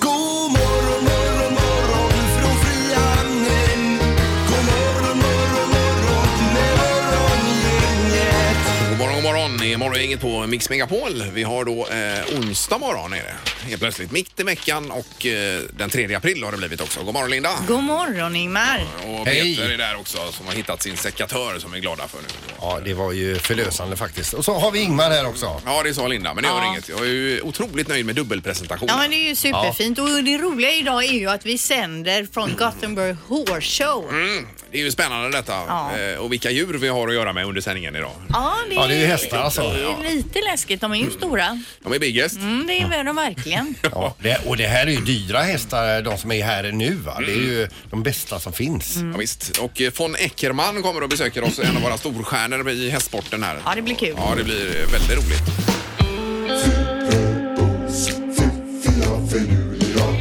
God morgon, morgon, morgon från Frihamnen. God morgon, morgon, morgon med morgongänget. God morgon, god morgon. Det är morgongänget på Mix Megapol. Vi har då eh, onsdag morgon är det. Helt plötsligt mitt i veckan och eh, den 3 april har det blivit också. God morgon Linda! God morgon Ingmar! Och Peter är där också som har hittat sin sekatör som vi är glada för nu. Ja, det var ju förlösande faktiskt. Och så har vi Ingmar här också. Ja, det sa Linda, men det gör Ja. inget. Jag är ju otroligt nöjd med dubbelpresentationen. Ja men det är ju superfint och det roliga idag är ju att vi sänder från Gothenburg Horse Show. Mm. Det är ju spännande detta Ja. eh, och vilka djur vi har att göra med under sändningen idag. Ja, det är, Ja, det är ju hästar alltså. det är lite läskigt, de är ju stora. De är biggest. Mm, det är de verkligen. Ja, det, och det här är ju dyra hästar, de som är här nu va. Det är ju de bästa som finns. Mm. Ja, visst. Och eh, von Eckermann kommer och besöker oss, en av våra storstjärnor i hästsporten här. Ja, det blir kul. Ja, det blir eh, väldigt roligt.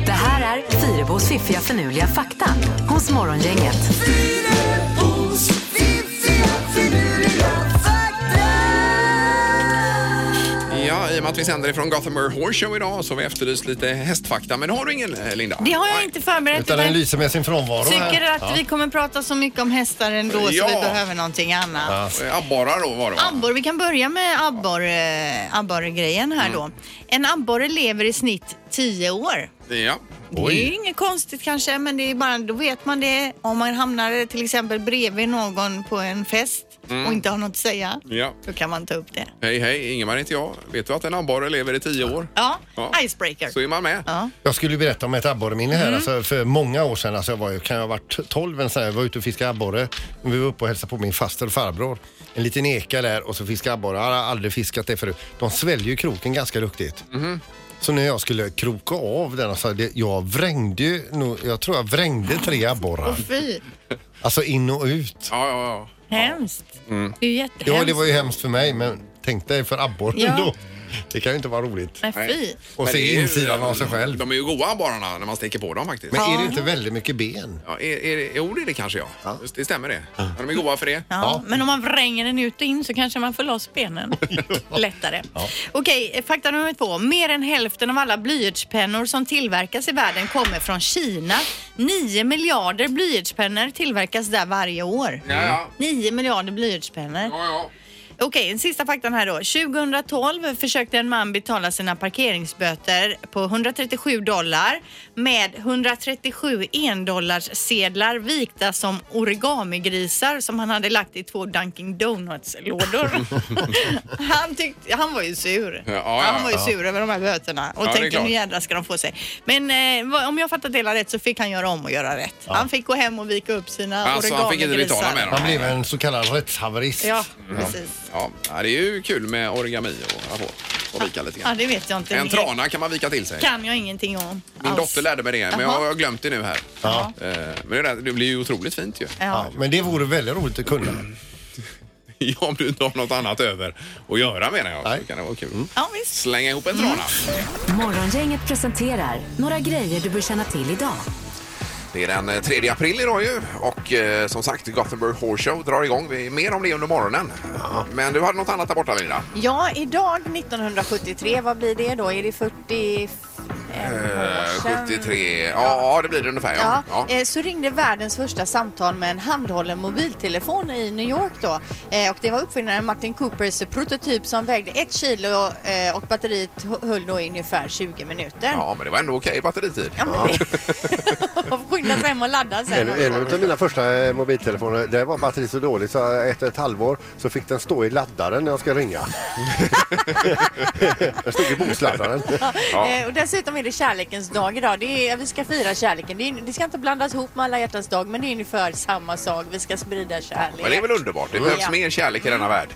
Det här är Fyrabos fiffiga förnuliga fakta hos Morgongänget. Fyrabos fiffiga finurliga fakta. Ja, i och med att vi sänder ifrån Gothenburg Horse Show idag så har vi efterlyst lite hästfakta. Men det har du ingen, eh, Linda? Det har jag Nej. inte förberett Utan den utan lyser med sin frånvaro jag tycker här. att vi kommer prata så mycket om hästar ändå så Ja. vi behöver någonting annat. Eh, Abborrar då var det va? Abborre, vi kan börja med abbor, eh, abborregrejen Mm. här då. En abborre lever i snitt 10 år. Ja. Det är ju inget konstigt kanske, men det är bara, då vet man det om man hamnar till exempel bredvid någon på en fest och inte har något att säga. ja. Då kan man ta upp det. Hej, hej. Ingemar heter jag. Vet du att en abborre lever i tio år? Ja, Ja. icebreaker. Så är man med. Ja. Jag skulle ju berätta om ett abborreminne Mm. här. Alltså, för många år sedan, alltså, jag var, ju- kan jag ha varit 12 eller så här, jag var ute och fiskade abborre. Vi var uppe och hälsade på min faster och farbror. En liten eka där och så fiskade abborre. Jag har aldrig fiskat det förut. De sväljer ju kroken ganska duktigt. Så när jag skulle kroka av den, alltså, det, jag vrängde ju, nog- jag tror jag vrängde tre abborrar. Fy, Alltså in och ut. Ja, ja, ja. hemskt. Det är ju jättehemskt. Ja, det var ju hemskt för mig, men tänk dig för abborren Ja. då. Det kan ju inte vara roligt. Men fy. Och Men det är se ju- insidan av sig själv. De är ju goda abborrarna när man steker på dem faktiskt. Men är det inte väldigt mycket ben? Ja, är, är, det- jo, det är det kanske ja. Just, det stämmer det. Ja. De är goda för det. Ja, Men om man vränger den ut och in så kanske man får loss benen lättare. Okej, fakta nummer två. Mer än hälften av alla blyertspennor som tillverkas i världen kommer från Kina. 9 miljarder blyertspennor tillverkas där varje år. Ja, ja. 9 miljarder blyertspennor. ja, ja. Okej, den sista faktan här då. 2012 försökte en man betala sina parkeringsböter på 137 dollar med 137 endollarssedlar vikta som origamigrisar som han hade lagt i två Dunkin Donuts-lådor. han, tyckte, han var ju sur. Ja, ja, han var ju ja. sur över de här böterna Ja, och det är tänkte klart. nu jädrar ska de få sig. Men eh, vad- om jag fattat det hela rätt så fick han göra om och göra rätt. Han fick gå hem och vika upp sina Alltså, han fick inte origamigrisar. betala med dem. Han blev en så kallad rättshaverist. Ja, precis. Ja, ja, det är ju kul med origami och, och, och vika lite Ja, grann. det vet jag inte. En trana kan man vika till sig. kan jag ingenting om. Min alls. dotter lärde mig det, men jag Jaha. har glömt det nu här. Ja. Eh, Men det, där, det blir ju otroligt fint ju. Ja. Ja, men det vore väldigt roligt att kunna. Ja, Om du inte har något annat över att göra menar jag. Nej. Så kan det vara kul. ja, visst. Slänga ihop en trana. Morgongänget presenterar några grejer du bör känna till idag. Det är den eh, 3 april idag ju och eh, som sagt Gothenburg Horse Show drar igång. Vi mer om det under morgonen. Men du hade något annat där borta Linda? Ja, idag 1973, vad blir det då? Är det 40... Eh, 73, ja, det blir det ungefär ja. Ja, ja. eh, så ringde världens första samtal med en handhållen mobiltelefon i New York då. Eh, Och det var uppfinnaren Martin Coopers prototyp som vägde ett kilo eh, och batteriet h- höll då i ungefär 20 minuter. Ja, men det var ändå okej batteritid. Ja, men det... Man får skynda sig hem och ladda sen. En, en av mina första eh, mobiltelefoner, där var batteriet så dåligt så efter ett halvår så fick den stå i laddaren när jag ska ringa. den stod i bosladdaren. Eh, Och dessutom är det är kärlekens dag idag. Det är, vi ska fira kärleken. Det, är, det ska inte blandas ihop med alla hjärtans dag, men det är ungefär samma sak. Vi ska sprida kärlek. Men det är väl underbart? Det Mm. behövs Ja. mer kärlek i denna värld.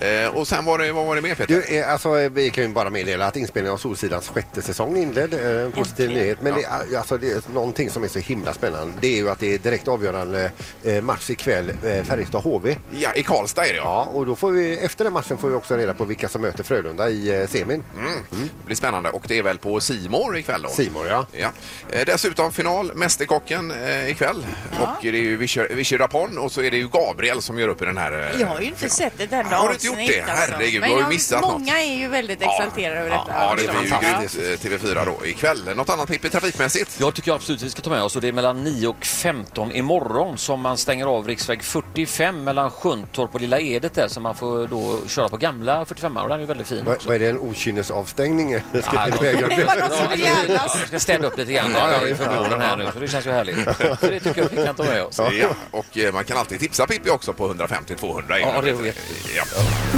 Eh, och sen var det, vad var det mer Peter? Du, eh, alltså, eh, vi kan ju bara meddela att inspelningen av Solsidans sjätte säsong är inledd. Eh, En positiv nyhet. Men det, är- alltså, det är någonting som är så himla spännande det är ju att det är direkt avgörande eh, match ikväll, eh, Färjestad-HV. Ja, i Karlstad är det Ja, och då får vi, efter den matchen får vi också reda på vilka som möter Frölunda i eh, semin. Mm. Det blir spännande och det är väl på Simor ikväll då? C More, ja. Ja. Eh, Dessutom final, Mästerkocken eh, ikväll. Och det är ju Vichy- Vichy Rapon och så är det ju Gabriel som gör upp i den här... eh, Jag har ju inte sett ett enda Har du inte gjort avsnitt, det? Herregud, vi har ju jag- missat något. många är ju väldigt exalterade över detta. Ja, det blir ju Ja. grymt eh, TV4 då ikväll. Något annat Pippi trafikmässigt? Jag tycker absolut vi ska ta med oss och det är mellan 9 och 15 imorgon som man stänger av riksväg 45 mellan Sjuntorp och Lilla Edet där så man får då köra på gamla 45 och den är ju väldigt fin. Vad vad är det, en okynnesavstängning? Ska Ja, vi då- väga- Ja, vi ska städa upp lite grann Ja, ja, i visst. förmånen här nu, så det känns ju härligt. Så det tycker jag vi kan ta med oss. Ja. Och eh, man kan alltid tipsa Pippi också på 150-200. Ja, det vet ja.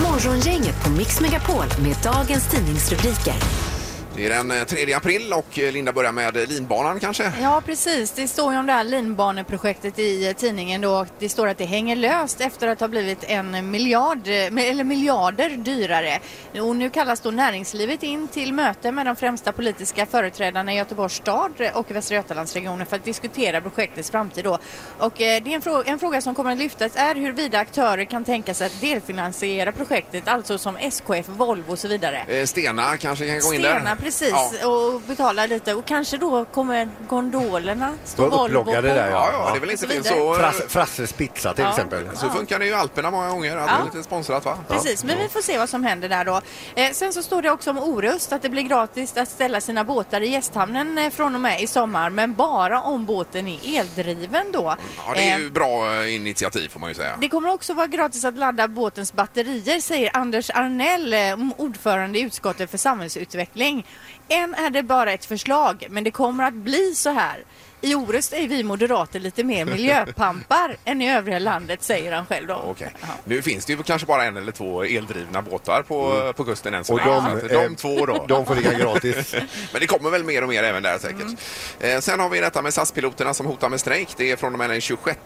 Morgongänget på Mix Megapol med dagens tidningsrubriker. Det är den eh, 3 april och eh, Linda börjar med linbanan kanske? Ja, precis. Det står ju om det här linbaneprojektet i eh, tidningen då. och Det står att det hänger löst efter att ha blivit en miljard, eh, eller miljarder dyrare. Och nu kallas då näringslivet in till möte med de främsta politiska företrädarna i Göteborgs stad eh, och Västra Götalandsregionen för att diskutera projektets framtid då. Och eh, det är en, frå- en fråga som kommer att lyftas är huruvida aktörer kan tänka sig att delfinansiera projektet, alltså som SKF, Volvo och så vidare. Eh, Stena kanske kan gå in där? Stena, precis. Ja. Och betala lite. Och kanske då kommer gondolerna stå Vad Volvo på. upploggade där Ja, ja, det är väl Och inte så fel vidare. så... eh, Frass, Frasses pizza till Ja. exempel. Så funkar det ju i Alperna många gånger. Att Ja. det är lite sponsrat va? Precis, men vi får se vad som händer där då. Eh, sen så står det också om Orust att det blir gratis att ställa sina båtar i gästhamnen eh, från och med i sommar, men bara om båten är eldriven då. Ja, det är Eh, ju bra eh, initiativ får man ju säga. Det kommer också vara gratis att ladda båtens batterier, säger Anders Arnell, eh, ordförande i utskottet för samhällsutveckling. Än är det bara ett förslag, men det kommer att bli så här. I Orust är vi moderater lite mer miljöpampar än i övriga landet, säger han själv då. Okej. Nu finns det ju kanske bara en eller två eldrivna båtar på, på kusten än så Mm. Och länge. så de, att eh, de två då. de får ligga gratis. Men det kommer väl mer och mer även där säkert. Eh, sen har vi detta med SAS-piloterna som hotar med strejk. Det är från och med den 26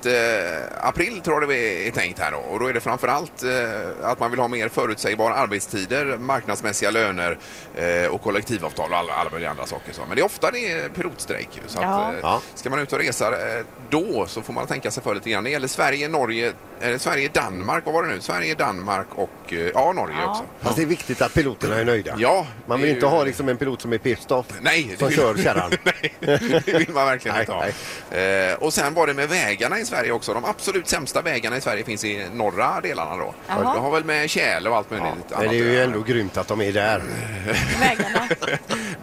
april tror jag det är tänkt här då. Och då är det framförallt eh, att man vill ha mer förutsägbara arbetstider, marknadsmässiga löner eh, och kollektivavtal och alla, alla möjliga andra saker. Så. Men det är ofta det är pilotstrejk. ju. Så att, Ja. eh, Ja. Ska man ut och resa eh, då så får man tänka sig för lite grann. Det gäller Sverige, Norge, eh, Sverige, Danmark, vad var det nu? Sverige, Danmark och eh, ja, Norge också. Fast det är viktigt att piloterna är nöjda. Ja, Man det vill är inte ju- ha liksom en pilot som är pissed off. Nej, Som det- kör kärran. nej, det vill man verkligen inte ha. Eh, och sen var det med vägarna i Sverige också. De absolut sämsta vägarna i Sverige finns i norra delarna då. Jaha. Det har väl med tjäle och allt möjligt Men annat. det är ju ändå grymt att de är där.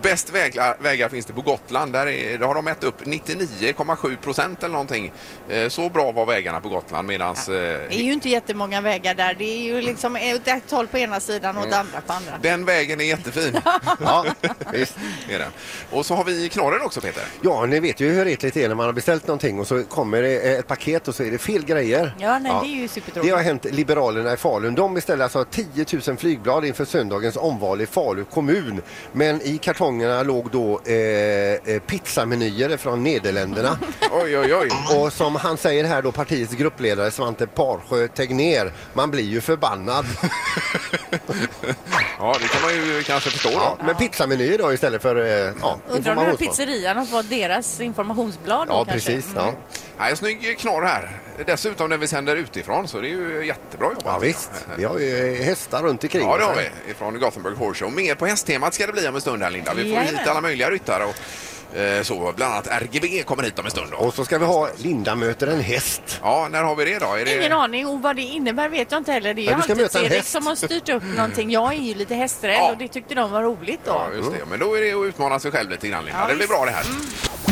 Bäst vägar, vägar finns det på Gotland. Där, är, där har de mätt upp 99,7 procent eller någonting. Eh, så bra var vägarna på Gotland medans... Eh, Det är ju inte jättemånga vägar där. Det är ju liksom åt ett håll på ena sidan och Mm. åt andra på andra. den vägen är jättefin. Ja, visst. Det är den. Och så har vi knorren också Peter. Ja, ni vet ju hur retligt det är när man har beställt någonting och så kommer det eh, ett paket och så är det fel grejer. Ja, nej, det är ju Det supertråkigt. har hänt Liberalerna i Falun. De beställde alltså 10 000 flygblad inför söndagens omval i Falu kommun. Men i kartongerna låg då eh, eh, pizzamenyer från Nederländerna. Oj, oj, oj. Och som han säger här då, partiets gruppledare Svante Parsjö Tegnér, man blir ju förbannad. Ja, det kan man ju kanske förstå då. Ja, men pizzamenyer då istället för eh, ja, Undrar om den här informationsblad. pizzerian har fått deras informationsblad då Ja, kanske? precis. Mm. Ja. Nej, en snygg knorr här. Dessutom när vi sänder utifrån så det är ju jättebra jobbat. ja, visst. Vi har ju hästar runt omkring. Ja, det har vi. Från Gothenburg Horse Show. Mer på hästtemat ska det bli om en stund här, Linda. Vi får Jajamän. hit alla möjliga ryttare och eh, så. Bland annat RGB kommer hit om en stund. Då. Och så ska vi ha Linda möter en häst. Ja, när har vi det då? Är det... Ingen aning om vad det innebär vet jag inte heller. Det är Ja, ju du ska alltid möta en Erik häst. som har styrt upp någonting. Jag är ju lite hästrädd Ja. och det tyckte de var roligt då. Ja, just det. Men då är det att utmana sig själv lite grann, Linda. Ja, det blir visst. bra Mm. det här.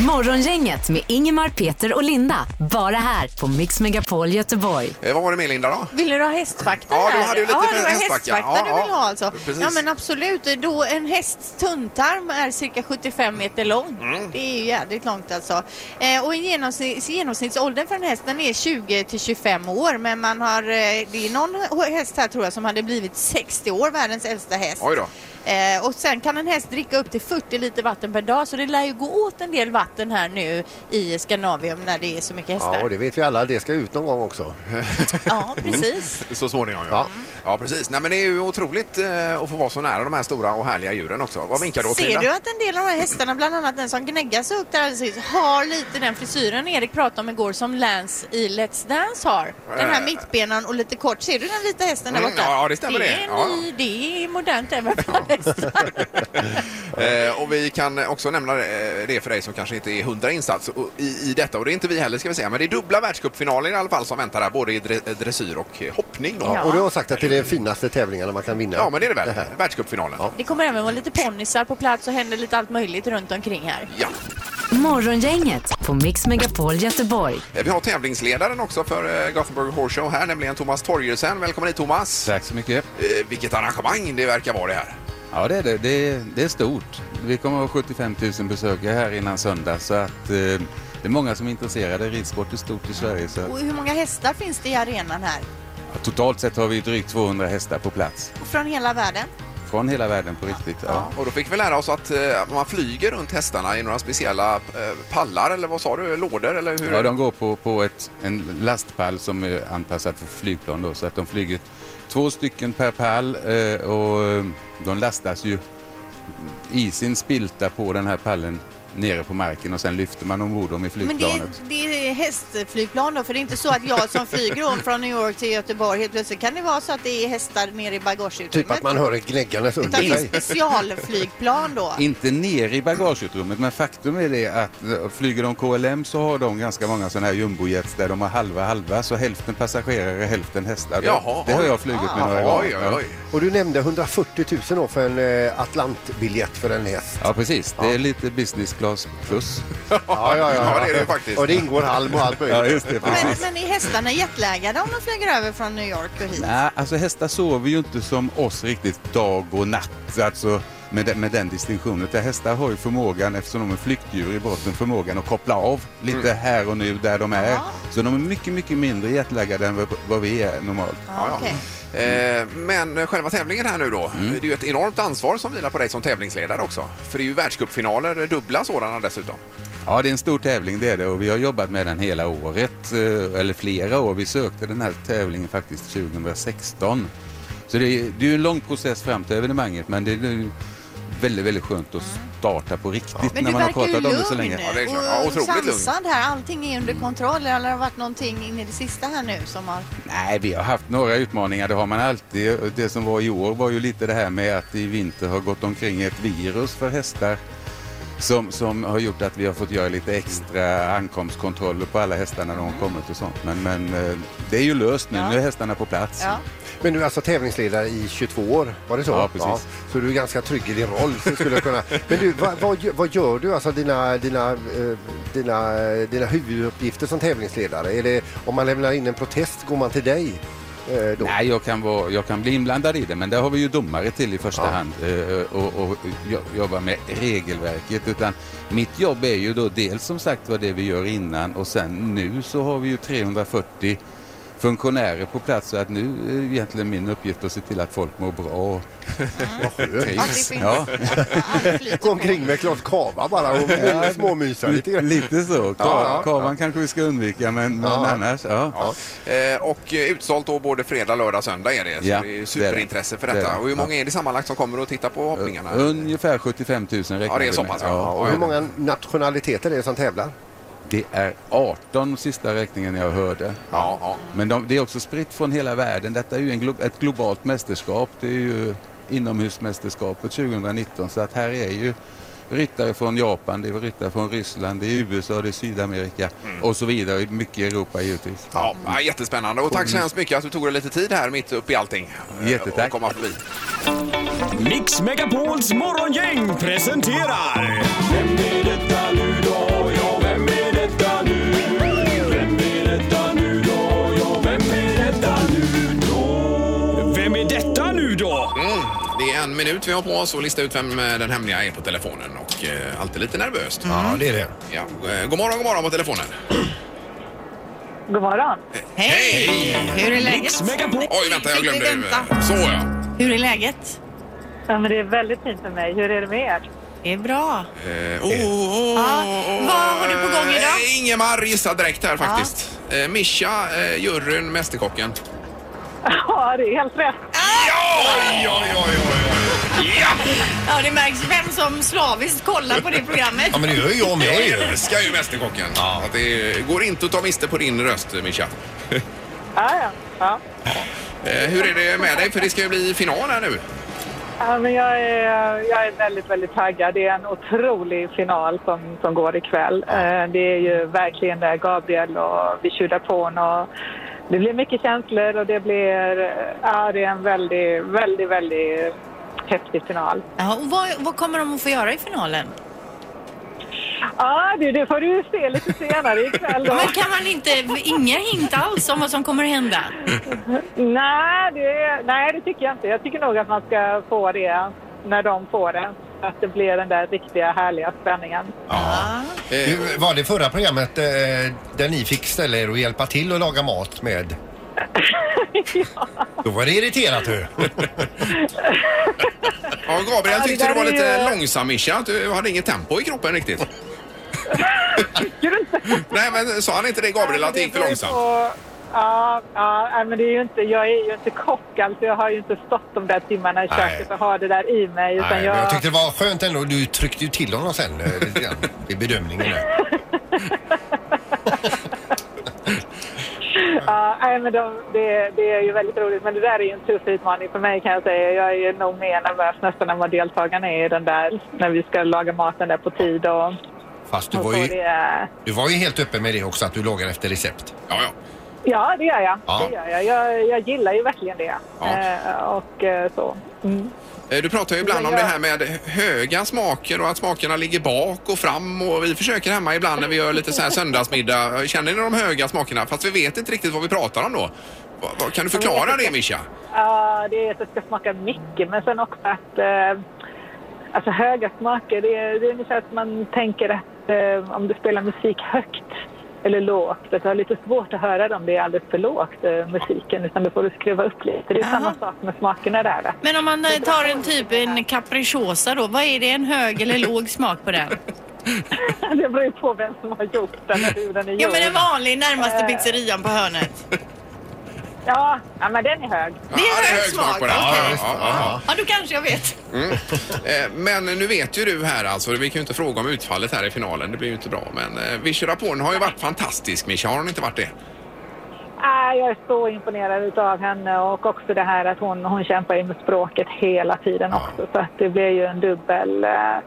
Morgongänget med Ingemar, Peter och Linda. Bara här på Mix Megapol Göteborg. Eh, vad var det med, Linda? då? Vill du ha hästfakta Ja, du här? hade ju lite ja, för det var hästfakta. hästfakta Ja, du ja. vill ha alltså. Precis. Ja men absolut. Då en hästs tunntarm är cirka 75 meter lång. Mm. Det är ju jädrigt långt alltså. Eh, och i genomsnitt, genomsnittsåldern för den hästen är 20 till 25 år men man har, eh, det är någon häst här tror jag som hade blivit 60 år, världens äldsta häst. Oj då. Eh, och sen kan en häst dricka upp till 40 liter vatten per dag så det lär ju gå åt en del vatten här nu i Skandinavien när det är så mycket hästar. Ja, och det vet vi alla. Det ska ut någon gång också. ja, precis. Så småningom, ja. Ja, precis. Nej, men det är ju otroligt eh, att få vara så nära de här stora och härliga djuren också. Vad vinkar du åt, Ser Linda? du att en del av de här hästarna, bland annat den som gnäggas upp där alldeles nyss, har lite den frisyren Erik pratade om igår som Lance i Let's Dance har. Den här Eh. mittbenan och lite kort. Ser du den vita hästen där Mm, borta? ja, det stämmer det. Det Ja. är, ny, det är modernt även för hästar. Eh, och vi kan också nämna eh, det för dig som kanske inte är hundra insats och- i, i detta. Och det är inte vi heller ska vi säga, men det är dubbla världscupfinaler i alla fall som väntar här, både i dre- dressyr och eh, hoppning. Då. Ja. Och du har sagt att det är de finaste tävlingarna man kan vinna. Ja, men det är det väl. Världscupfinalen. Det kommer även vara lite ponnysar på plats och händer lite allt möjligt runt omkring här. Ja. Morgongänget på Mix Megapol Göteborg. Eh, Vi har tävlingsledaren också för eh, Gothenburg Horse Show här, nämligen Thomas Torgersen. Välkommen hit Thomas! Tack så mycket. Eh, vilket arrangemang det verkar vara det här. Ja, det är det. Det är, det är stort. Vi kommer att ha 75 000 besökare här innan söndag så att eh, det är många som är intresserade. Ridsport är stort i Sverige så Och att, hur många hästar finns det i arenan här? ja, totalt sett har vi drygt 200 hästar på plats Och från hela världen? från hela världen på riktigt. Ja. Och då fick vi lära oss att eh, man flyger runt hästarna i några speciella eh, pallar eller vad sa du, lådor eller hur? Ja, de går på, på ett, en lastpall som är anpassad för flygplan då, så att de flyger två stycken per pall eh, och eh, de lastas ju. Isen spiltar på den här pallen nere på marken och sen lyfter man ombord dem i Men det är, flygplanet. det är hästflygplan då, för det är inte så att jag som flyger om från New York till Göteborg helt plötsligt kan det vara så att det är hästar nere i bagageutrymmet. Typ att man hör ett gnäggandes under Utan det är sig. specialflygplan då. Inte ner i bagageutrymmet, men faktum är det att eh, flyger de KLM så har de ganska många sådana här jumbojets där de har halva halva, så hälften passagerare, hälften hästar. Det- Jaha, det har oj. jag flugit Ah, med några Jaha, gånger. oj, Ja. oj, oj. Och du nämnde 140 000 då för en eh, Atlantbiljett för en häst. Ja, precis. Det är lite business class plus. ja, ja, ja. Ja, det är det ju faktiskt. Och det ingår halm och allt möjligt. Ja, just det. Men, Precis. men är hästarna jetlaggade om de flyger över från New York och hit? Nej, alltså hästar sover ju inte som oss riktigt dag och natt, alltså med den, med den distinktionen. Utan hästar har ju förmågan, eftersom de är flyktdjur i botten, förmågan att koppla av lite Mm. här och nu där de är. Så de är mycket, mycket mindre jetlaggade än vad, vad vi är normalt. Ja, ja. Eh, Men själva tävlingen här nu då, Mm. det är ju ett enormt ansvar som vilar på dig som tävlingsledare också. För det är ju världscupfinaler, eh, dubbla sådana dessutom. Ja, det är en stor tävling det är det och vi har jobbat med den hela året, eh, eller flera år. Vi sökte den här tävlingen faktiskt 2016. Så det är, det är ju en lång process fram till evenemanget men det är ju väldigt, väldigt skönt att starta på riktigt Mm. Men när du man har verkar ju pratat om lugn det så länge. och sansad här. Allting är under kontroll. Eller har det varit någonting in i det sista här nu som har... Nej, vi har haft några utmaningar, det har man alltid. Det som var i år var ju lite det här med att i vinter har gått omkring ett virus för hästar som, som har gjort att vi har fått göra lite extra ankomstkontroller på alla hästar när de har kommit och sånt. Men, men eh, det är ju löst nu, Ja. nu är hästarna på plats. Men du är alltså tävlingsledare i 22 år, var det så? Ja, precis. så du är ganska trygg i din roll. Så skulle jag kunna... Men du, vad, vad, gö- vad gör du, alltså dina, dina, eh, dina, dina huvuduppgifter som tävlingsledare? Är det, om man lämnar in en protest, går man till dig? Eh, då? Nej, jag kan, vara, jag kan bli inblandad i det, men där har vi ju domare till i första hand eh, och, och jo- jobba med regelverket. Utan mitt jobb är ju då dels som sagt vad det vi gör innan och sen nu så har vi ju 340 funktionärer på plats så att nu är egentligen min uppgift att se till att folk mår bra och Mm. trivs. Ja. Gå omkring med ett glas kava bara och Ja, småmysa lite grann. Lite så. Ka- Ja, ja. Kavan kanske vi ska undvika, men, men Ja. annars. Ja. Eh, Och eh, utsålt då både fredag, lördag, söndag är det. Så Ja, det är det är ju superintresse för det. Det är detta. det. Eh, Och hur många är det sammanlagt som kommer och tittar på hoppningarna? Ungefär 75 000 räknar Ja, det är vi så med. pass, ja. Ja, och hur många nationaliteter är det som tävlar? Det är 18 sista räkningen jag hörde. Ja, Men de, det är också spritt från hela världen. Detta är ju en glo, ett globalt mästerskap. Det är ju inomhusmästerskapet 2019 så att här är ju ryttare från Japan, det är ryttare från Ryssland, det är USA, det är Sydamerika Mm. och så vidare. Mycket i Europa givetvis. Ja, ja, jättespännande. Och tack så hemskt mycket att du tog dig lite tid här mitt uppe i allting. eh, Mm. Jättetack. Och komma förbi. Mix Megapols morgongäng presenterar Vem är detta nu då? Ja, vem är detta nu? Vem är detta nu då? Ja, vem är detta nu då? Vem är detta nu då? Det är en minut vi har på oss att lista ut vem eh, den hemliga är på telefonen och eh, alltid lite nervöst. Ja, det är det. Ja, eh, god morgon, god morgon på telefonen. God morgon. Hej! Hur är läget? Oj, vänta, jag glömde. Vänta. Så ja. Hur är läget? Ja, men det är väldigt fint för mig. Hur är det med er? Det är bra. Eh, oh, Ja, vad har du på gång idag? eh, Ingemar gissar direkt här faktiskt. Eh, Mischa, eh, juryn, Mästerkocken. Ja, det är helt rätt. Oj, oj, oj, oj. Ja, det märks vem som slaviskt kollar på det programmet. Jag älskar ju Mästerkocken. Att det går inte att ta miste på din röst, Mischa. Ja, ja. ja. Eh, Hur är det med dig? För det ska ju bli final här nu. ja men jag, är, Eh, jag är väldigt, väldigt taggad. Det är en otrolig final som, som går ikväll. Eh, Det är ju verkligen där Gabriel och vi tjurar på och det blir mycket känslor och det blir... eh, Ja, det är en väldigt, väldigt, väldigt häftig final. Ja, och vad, vad kommer de att få göra i finalen? Ja, du, det får du se lite senare ikväll då. Men kan man inte, inga hint alls om vad som kommer hända? Nej det, nej, det tycker jag inte. Jag tycker nog att man ska få det när de får det. Att det blir den där riktiga härliga spänningen. Du, Var det förra programmet eh, där ni fick ställa er och hjälpa till och laga mat med? Då var det irriterat du. Ja, Gabriel Ja, det tyckte du där var är lite ju- långsam, Mischa. Att du hade inget tempo i kroppen riktigt. Tycker du inte? Nej, men sa han inte det, Gabriel, att det gick för långsamt? Och, ja, ja, nej, men det är ju inte, jag är ju inte kock. Alltså, jag har ju inte stått de där timmarna i Nej. köket och har det där i mig. Utan Nej, men jag, jag tyckte det var skönt ändå. Du tryckte ju till honom sen eh, lite grann vid bedömningen. där. ja, nej, men de, det, det är ju väldigt roligt. Men det där är ju en tuff utmaning för mig kan jag säga. Jag är ju nog mer nervös nästan än vad deltagarna är i den där. När vi ska laga maten där på tid och... Fast du och var så ju, det- eh, du var ju helt öppen med det också att du lagar efter recept. Ja, ja. Ja, det gör jag. Ja. Det gör jag. jag. Jag gillar ju verkligen det. Eh, och eh, så. Mm. Eh, Du pratar ju ibland om det här med höga smaker och att smakerna ligger bak och fram och vi försöker hemma ibland när vi gör lite så här söndagsmiddag. Eh, Känner ni de höga smakerna? Fast vi vet inte riktigt vad vi pratar om då. Va- va- Kan du förklara det, Mischa? Ja, det är att det ska smaka mycket, men sen också att... Eh, alltså höga smaker, det är, det är ungefär att man tänker att eh, om du spelar musik högt eller lågt, att du har lite svårt att höra det om det är alldeles för lågt, eh, musiken, utan då får du skruva upp lite. Det är samma sak med smakerna där. va? Men om man eh, tar en typ en capricciosa då, vad är det? En hög eller låg smak på den? Det beror ju på vem som har gjort den och hur den är gjord. Ja men en vanlig närmaste pizzerian på hörnet. Ja, ja, men den är hög. Det är hög smak på den. Ja, ja, ja, ja. Ja, då kanske jag vet. Mm. Eh, Men nu vet ju du här alltså, vi kan ju inte fråga om utfallet här i finalen, det blir ju inte bra. Men eh, Vichy Rapone har ju varit fantastisk, Mischa. Har hon inte varit det? Nej, jag är så imponerad av henne och också det här att hon, hon kämpar ju med språket hela tiden också. Så att det blir ju en dubbel, eh,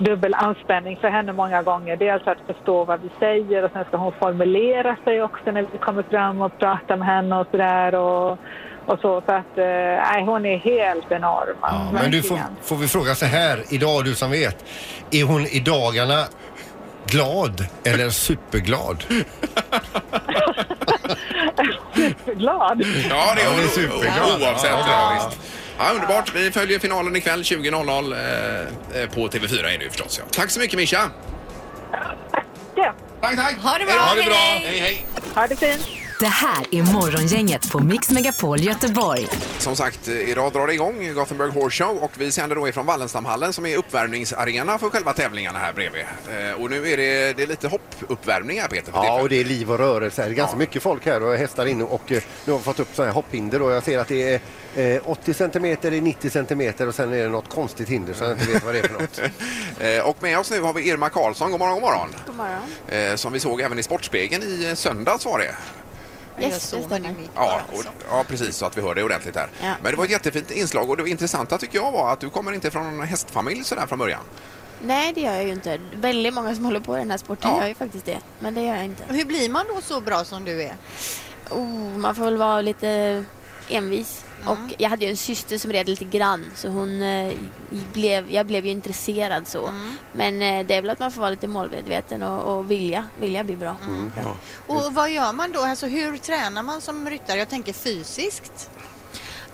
dubbel anspänning för henne många gånger. Dels att förstå vad vi säger och sen ska hon formulera sig också när vi kommer fram och pratar med henne och sådär. Och, och så, så att eh, nej, hon är helt enorm. Men du, får, verkligen. får vi fråga så här idag, du som vet. Är hon i dagarna glad eller superglad? Glad. Ja, det är hon. superglad. Oavsett. Ja, Ja, visst. Ja, underbart. Vi följer finalen ikväll 20.00 eh, eh, på TV4 är det ju förstås. Ja. Tack så mycket Mischa! Tack, tack! Ha det bra! Ha det bra. Hej, hej! Ha det fint! Det här är Morgongänget på Mix Megapol Göteborg. Som sagt, eh, idag drar det igång Gothenburg Horse Show och vi sänder då ifrån Wallenstamhallen som är uppvärmningsarena för själva tävlingarna här bredvid. Eh, Och nu är det, det är lite hoppuppvärmning här Peter. för Ja, och det är liv och rörelse. här. Det är ganska mycket folk här och hästar inne och eh, nu har vi fått upp sådana här hopphinder och jag ser att det är eh, 80 centimeter, det är 90 centimeter och sen är det något konstigt hinder så jag inte vet vad det är för något. Eh, Och med oss nu har vi Irma Karlsson, god morgon, god morgon. God morgon. Eh, Som vi såg även i Sportspegeln i eh, söndags var det. Yes, det stämmer. Ja, och, ja, precis så att vi hör det ordentligt här. Ja. Men det var ett jättefint inslag och det intressanta tycker jag var att du kommer inte från en hästfamilj sådär från början. Nej, det gör jag ju inte. Väldigt många som håller på i den här sporten gör ju faktiskt det. Men det gör jag Alltså, inte. Hur blir man då så bra som du är? Oh, man får väl vara lite envis. Och jag hade ju en syster som red lite grann så hon eh, blev, jag blev ju intresserad så. Men eh, det är väl att man får vara lite målmedveten och, och vilja, vilja bli bra. Och vad gör man då? Alltså, hur tränar man som ryttare? Jag tänker fysiskt.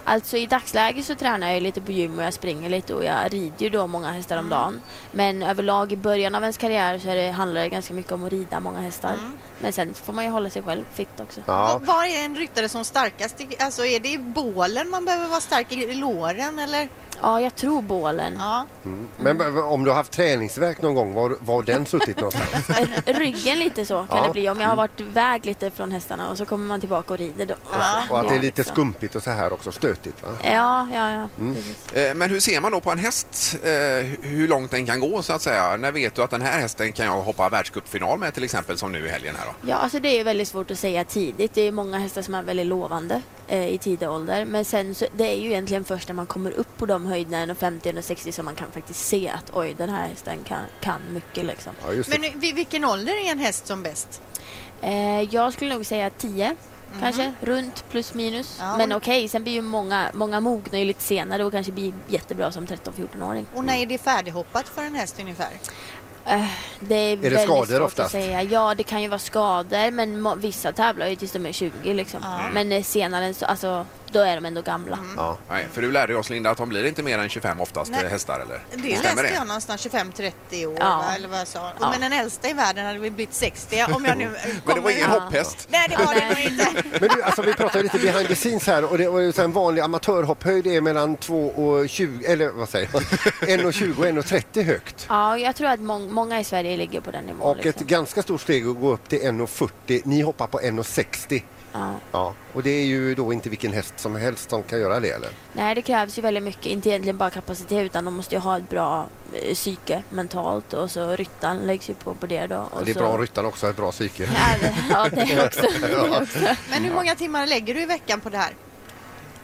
Alltså i dagsläget så tränar jag ju lite på gym och jag springer lite och jag rider ju då många hästar om dagen. Men överlag i början av ens karriär så är det, handlar det ganska mycket om att rida många hästar. Men sen får man ju hålla sig själv fit också. Och Var är en ryttare som starkast? Alltså är det i bålen man behöver vara stark i i låren eller? Ja, jag tror bålen. Ja. Mm. Men b- om du har haft träningsvärk någon gång, var, var den suttit någonstans? Ryggen lite så kan Ja. det bli om jag har varit väg lite från hästarna och så kommer man tillbaka och rider då. Och att det är lite så. skumpigt och så här också, stötigt va? Ja, ja, ja. Mm. Eh, Men hur ser man då på en häst, eh, hur långt den kan gå så att säga? När vet du att den här hästen kan jag hoppa världscupfinal med till exempel som nu i helgen här då? Ja, alltså det är ju väldigt svårt att säga tidigt. Det är ju många hästar som är väldigt lovande eh, i tidig ålder. Men sen så, det är ju egentligen först när man kommer upp på de höjderna, 150 och 60 som man kan faktiskt se att oj, den här hästen kan, kan mycket liksom. Men i- vid vilken ålder är en häst som bäst? Eh, jag skulle nog säga 10 kanske, runt plus minus. Men okej, sen blir ju många, många mogna ju lite senare och kanske blir jättebra som 13-14-åring. Och när är det färdighoppat för en häst ungefär? Eh, det det är, väldigt skador svårt oftast? att säga. Ja, det kan ju vara skador, men må- vissa tävlar ju tills de är 20 liksom. Men eh, senare, så, alltså, då är de ändå gamla. Ja. Nej, för du lärde ju oss Linda att de blir inte mer än 25 oftast eh, Nej. hästar eller? Det läste jag någonstans 25-30 år Ja. va, eller vad jag sa. Ja. Men den äldsta i världen hade väl blivit 60 om jag nu Men det var ingen Ja. hopphäst? Nej, det var det nog inte. Men du, alltså, vi pratar ju lite behind the scenes här och, det, och så en vanlig amatörhopphöjd är mellan 2 och 20, eller vad säger man? 1 och 20 och 1 och 30 högt. Ja, jag tror att mång- många i Sverige ligger på den nivån. liksom. Och ett ganska stort steg att gå upp till 1 och 40. Ni hoppar på 1 och 60. Ja. Ja, och det är ju då inte vilken häst som helst som kan göra det eller? Nej, det krävs ju väldigt mycket. Inte egentligen bara kapacitet, utan de måste ju ha ett bra eh, psyke mentalt och så ryttaren läggs ju på på det då. Och det är så... bra ryttare också, ett bra psyke. Ja, det också. Ja. Men hur många timmar lägger du i veckan på det här?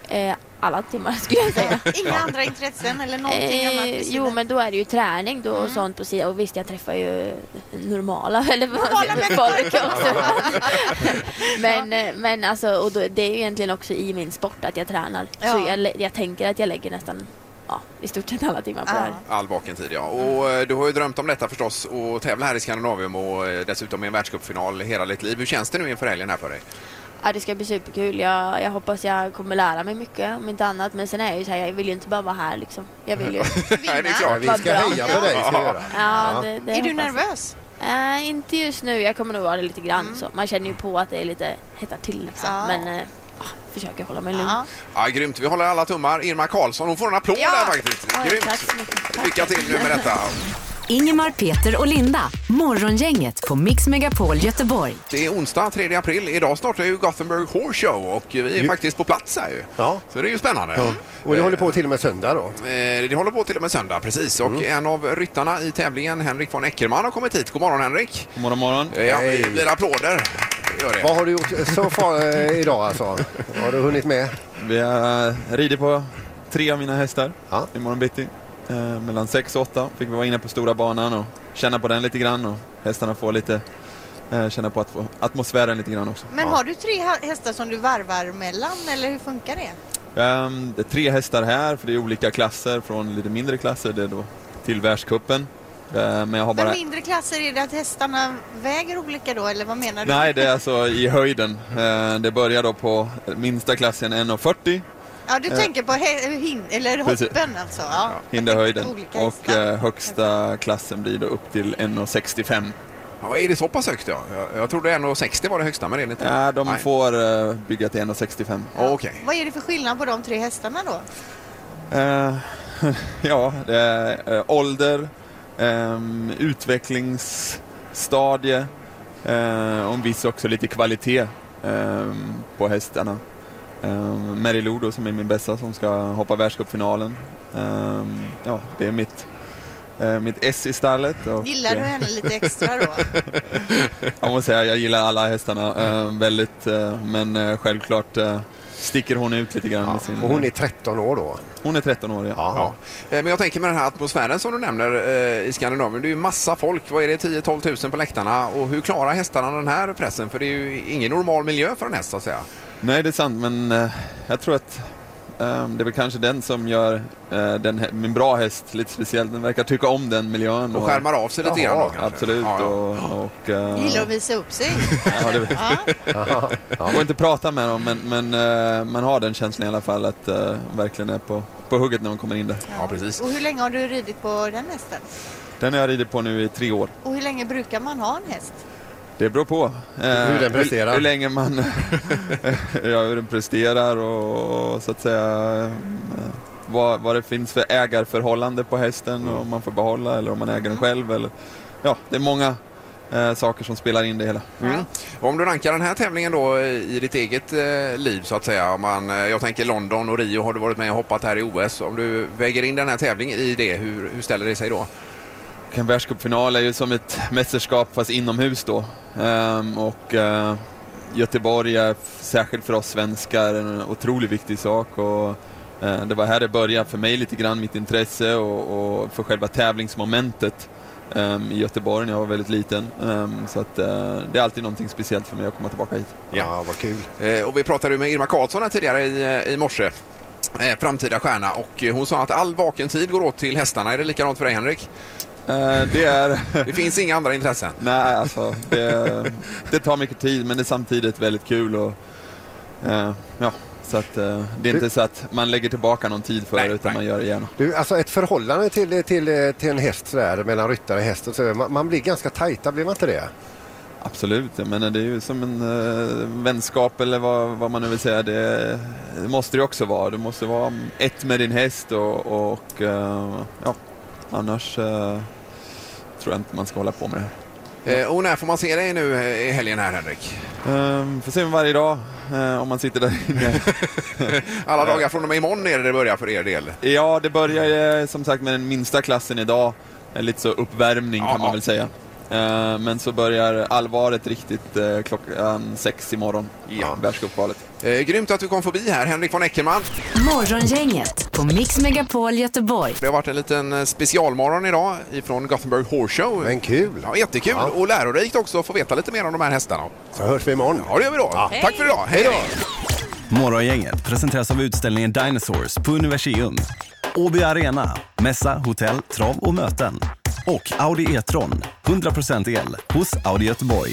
Eh, alla timmar skulle jag säga. Inga andra intressen eller någonting annat? Eh, vid jo, sidan? men då är det ju träning då och sånt på sidan. Och visst, jag träffar ju normala eller vad Normala man säger, folk också. men, eh, men alltså, och då, det är ju egentligen också i min sport att jag tränar. Så Ja. jag, lä- jag tänker att jag lägger nästan, ja, i stort sett alla timmar på det här. All vaken tid ja. Och eh, du har ju drömt om detta förstås och tävla här i Skandinavium och eh, dessutom i en världscupfinal hela ditt liv. Hur känns det nu inför helgen här för dig? Ja, det ska bli superkul. Jag, jag hoppas jag kommer lära mig mycket, om inte annat. Men sen är jag ju så här, jag vill ju inte bara vara här liksom. Jag vill ju... Nej, det är klart. Vi ska heja på dig, ska vi göra. Ja, det, det Är du hoppas jag. nervös? Eh, inte just nu. Jag kommer nog vara det lite grann. Så. Man känner ju på att det är lite hettar till. Liksom. Men eh, ah, försöker hålla mig lugn. Ja, grymt. Vi håller alla tummar. Irma Karlsson, hon får en applåd Ja. där faktiskt. Oj, Grymt. tack så mycket. Tack. Lycka till nu med detta. Ingemar, Peter och Linda. Morgongänget på Mix Megapol Göteborg. Det är onsdag 3 april. Idag startar ju Gothenburg Horse Show och vi är faktiskt på plats här ju. Ja. Så det är ju spännande. Ja. Och det håller på till och med söndag då? Eh, Det håller på till och med söndag, precis. Och Mm. en av ryttarna i tävlingen, Henrik von Eckermann, har kommit hit. God morgon, Henrik. God morgon, morgon. Ja, Hej. det blir applåder. Det Gör det. Vad har du gjort så far eh, idag alltså? Har du hunnit med? Vi har ridit på tre av mina hästar i imorgon bitti. Eh, mellan sex och åtta fick vi vara inne på stora banan och känna på den lite grann och hästarna får lite eh, känna på atmo- atmosfären lite grann också. Men har du tre ha- hästar som du varvar mellan eller hur funkar det? Ehm, det är tre hästar här för det är olika klasser från lite mindre klasser det är då till världscupen. Eh, men jag har bara... Men mindre klasser, är det att hästarna väger olika då eller vad menar du? Nej, det är alltså i höjden. Eh, det börjar då på minsta klassen 1,40 Ja, du Eh. tänker på he- hin- eller Precis. hoppen alltså? Ja. hinderhöjden Olika och eh, högsta klassen blir då upp till 1,65. Ja, är det så pass högt? Ja? Jag, jag trodde 1,60 var det högsta, men det är det inte. Ja, de Nej. får eh, bygga till 1,65. Okej. Vad är det för skillnad på de tre hästarna då? Eh, ja, det är eh, ålder, ehm, utvecklingsstadie eh, och en viss också lite kvalitet ehm, på hästarna. Um, Mary Lou då, som är min bästa som ska hoppa världscupfinalen. Ehm, ja, det är mitt, eh, mitt S i stallet. Och, Gillar du eh, henne lite extra då? jag måste säga, jag gillar alla hästarna eh, väldigt, eh, men eh, självklart eh, sticker hon ut lite grann. med sin, Och hon är 13 år då? Hon är 13 år, ja. Ja. Eh, Men jag tänker med den här atmosfären som du nämner eh, i Skandinavien. Det är ju massa folk. Vad är det? 10-12 tusen på läktarna. Och hur klarar hästarna den här pressen? För det är ju ingen normal miljö för en häst, så att säga. Nej, det är sant, men eh, jag tror att Ehm, Det är väl kanske den som gör eh, den, hä- min bra häst lite speciell. Den verkar tycka om den miljön. Och skärmar av sig lite Jaha, grann då kanske. Absolut. Och, och, eh, Gillar att visa upp sig. Ja, det ja. går inte att prata med dem, men, men eh, man har den känslan i alla fall att eh, de verkligen är på, på hugget när de kommer in där. Ja, precis. Och hur länge har du ridit på den hästen? Den har jag ridit på nu i tre år. Och hur länge brukar man ha en häst? Det beror på. eh, Hur den presterar. Hur, hur länge man... ja, hur den presterar och, och så att säga eh, vad, vad det finns för ägarförhållande på hästen Mm. och om man får behålla eller om man äger den själv. Eller, ja, det är många eh, saker som spelar in det hela. Mm. Och Om du rankar den här tävlingen då eh, i ditt eget eh, liv så att säga. Om man, eh, jag tänker London och Rio har du varit med och hoppat här i OS. Om du väger in den här tävlingen i det, hur, hur ställer det sig då? Och En världscupfinal är ju som ett mästerskap fast inomhus då. Ehm, och eh, Göteborg är f- särskilt för oss svenskar en otroligt viktig sak. Och, eh, det var här det började för mig lite grann, mitt intresse och, och för själva tävlingsmomentet ehm, i Göteborg när jag var väldigt liten. Ehm, så att, eh, det är alltid någonting speciellt för mig att komma tillbaka hit. Ja, vad kul. Eh, och vi pratade ju med Irma Karlsson här tidigare i, eh, i morse. Eh, framtida stjärna och eh, hon sa att all vaken tid går åt till hästarna. Är det likadant för dig Henrik? det, är... det finns inga andra intressen? Nej, alltså det, det tar mycket tid men det är samtidigt väldigt kul. Och, eh, ja, så att, eh, det är inte så att man lägger tillbaka någon tid för det utan man gör det gärna. Du, alltså ett förhållande till, till, till en häst sådär, mellan ryttare och häst, och så, man, man blir ganska tajta, blir man inte det? Absolut, jag menar, det är ju som en eh, vänskap eller vad, vad man nu vill säga. Det, det måste det ju också vara. Du måste vara ett med din häst och, och eh, ja, annars eh, tror jag inte man ska hålla på med det här. Eh, och när får man se dig nu eh, i helgen här Henrik? Um, får se mig varje dag eh, om man sitter där inne. Eh. Alla dagar från och med imorgon är det det börjar för er del. Ja, det börjar eh, som sagt med den minsta klassen idag. Eh, Lite så uppvärmning kan man väl säga. Eh, Men så börjar allvaret riktigt eh, klockan sex imorgon, ja. världscupkvalet. Eh, Grymt att du kom förbi här, Henrik von Eckermann. Morgongänget på Mix Megapol Göteborg. Det har varit en liten eh, specialmorgon idag ifrån Gothenburg Horse Show. Men kul! Ja, jättekul Ja. och lärorikt också att få veta lite mer om de här hästarna. Så hörs vi imorgon. Ja, det gör vi då. Ja. Tack för idag. Hej då! Morgongänget presenteras av utställningen Dinosaurs på Universium. Åby Arena, mässa, hotell, trav och möten. Och Audi E-tron, 100% el, hos Audi Göteborg.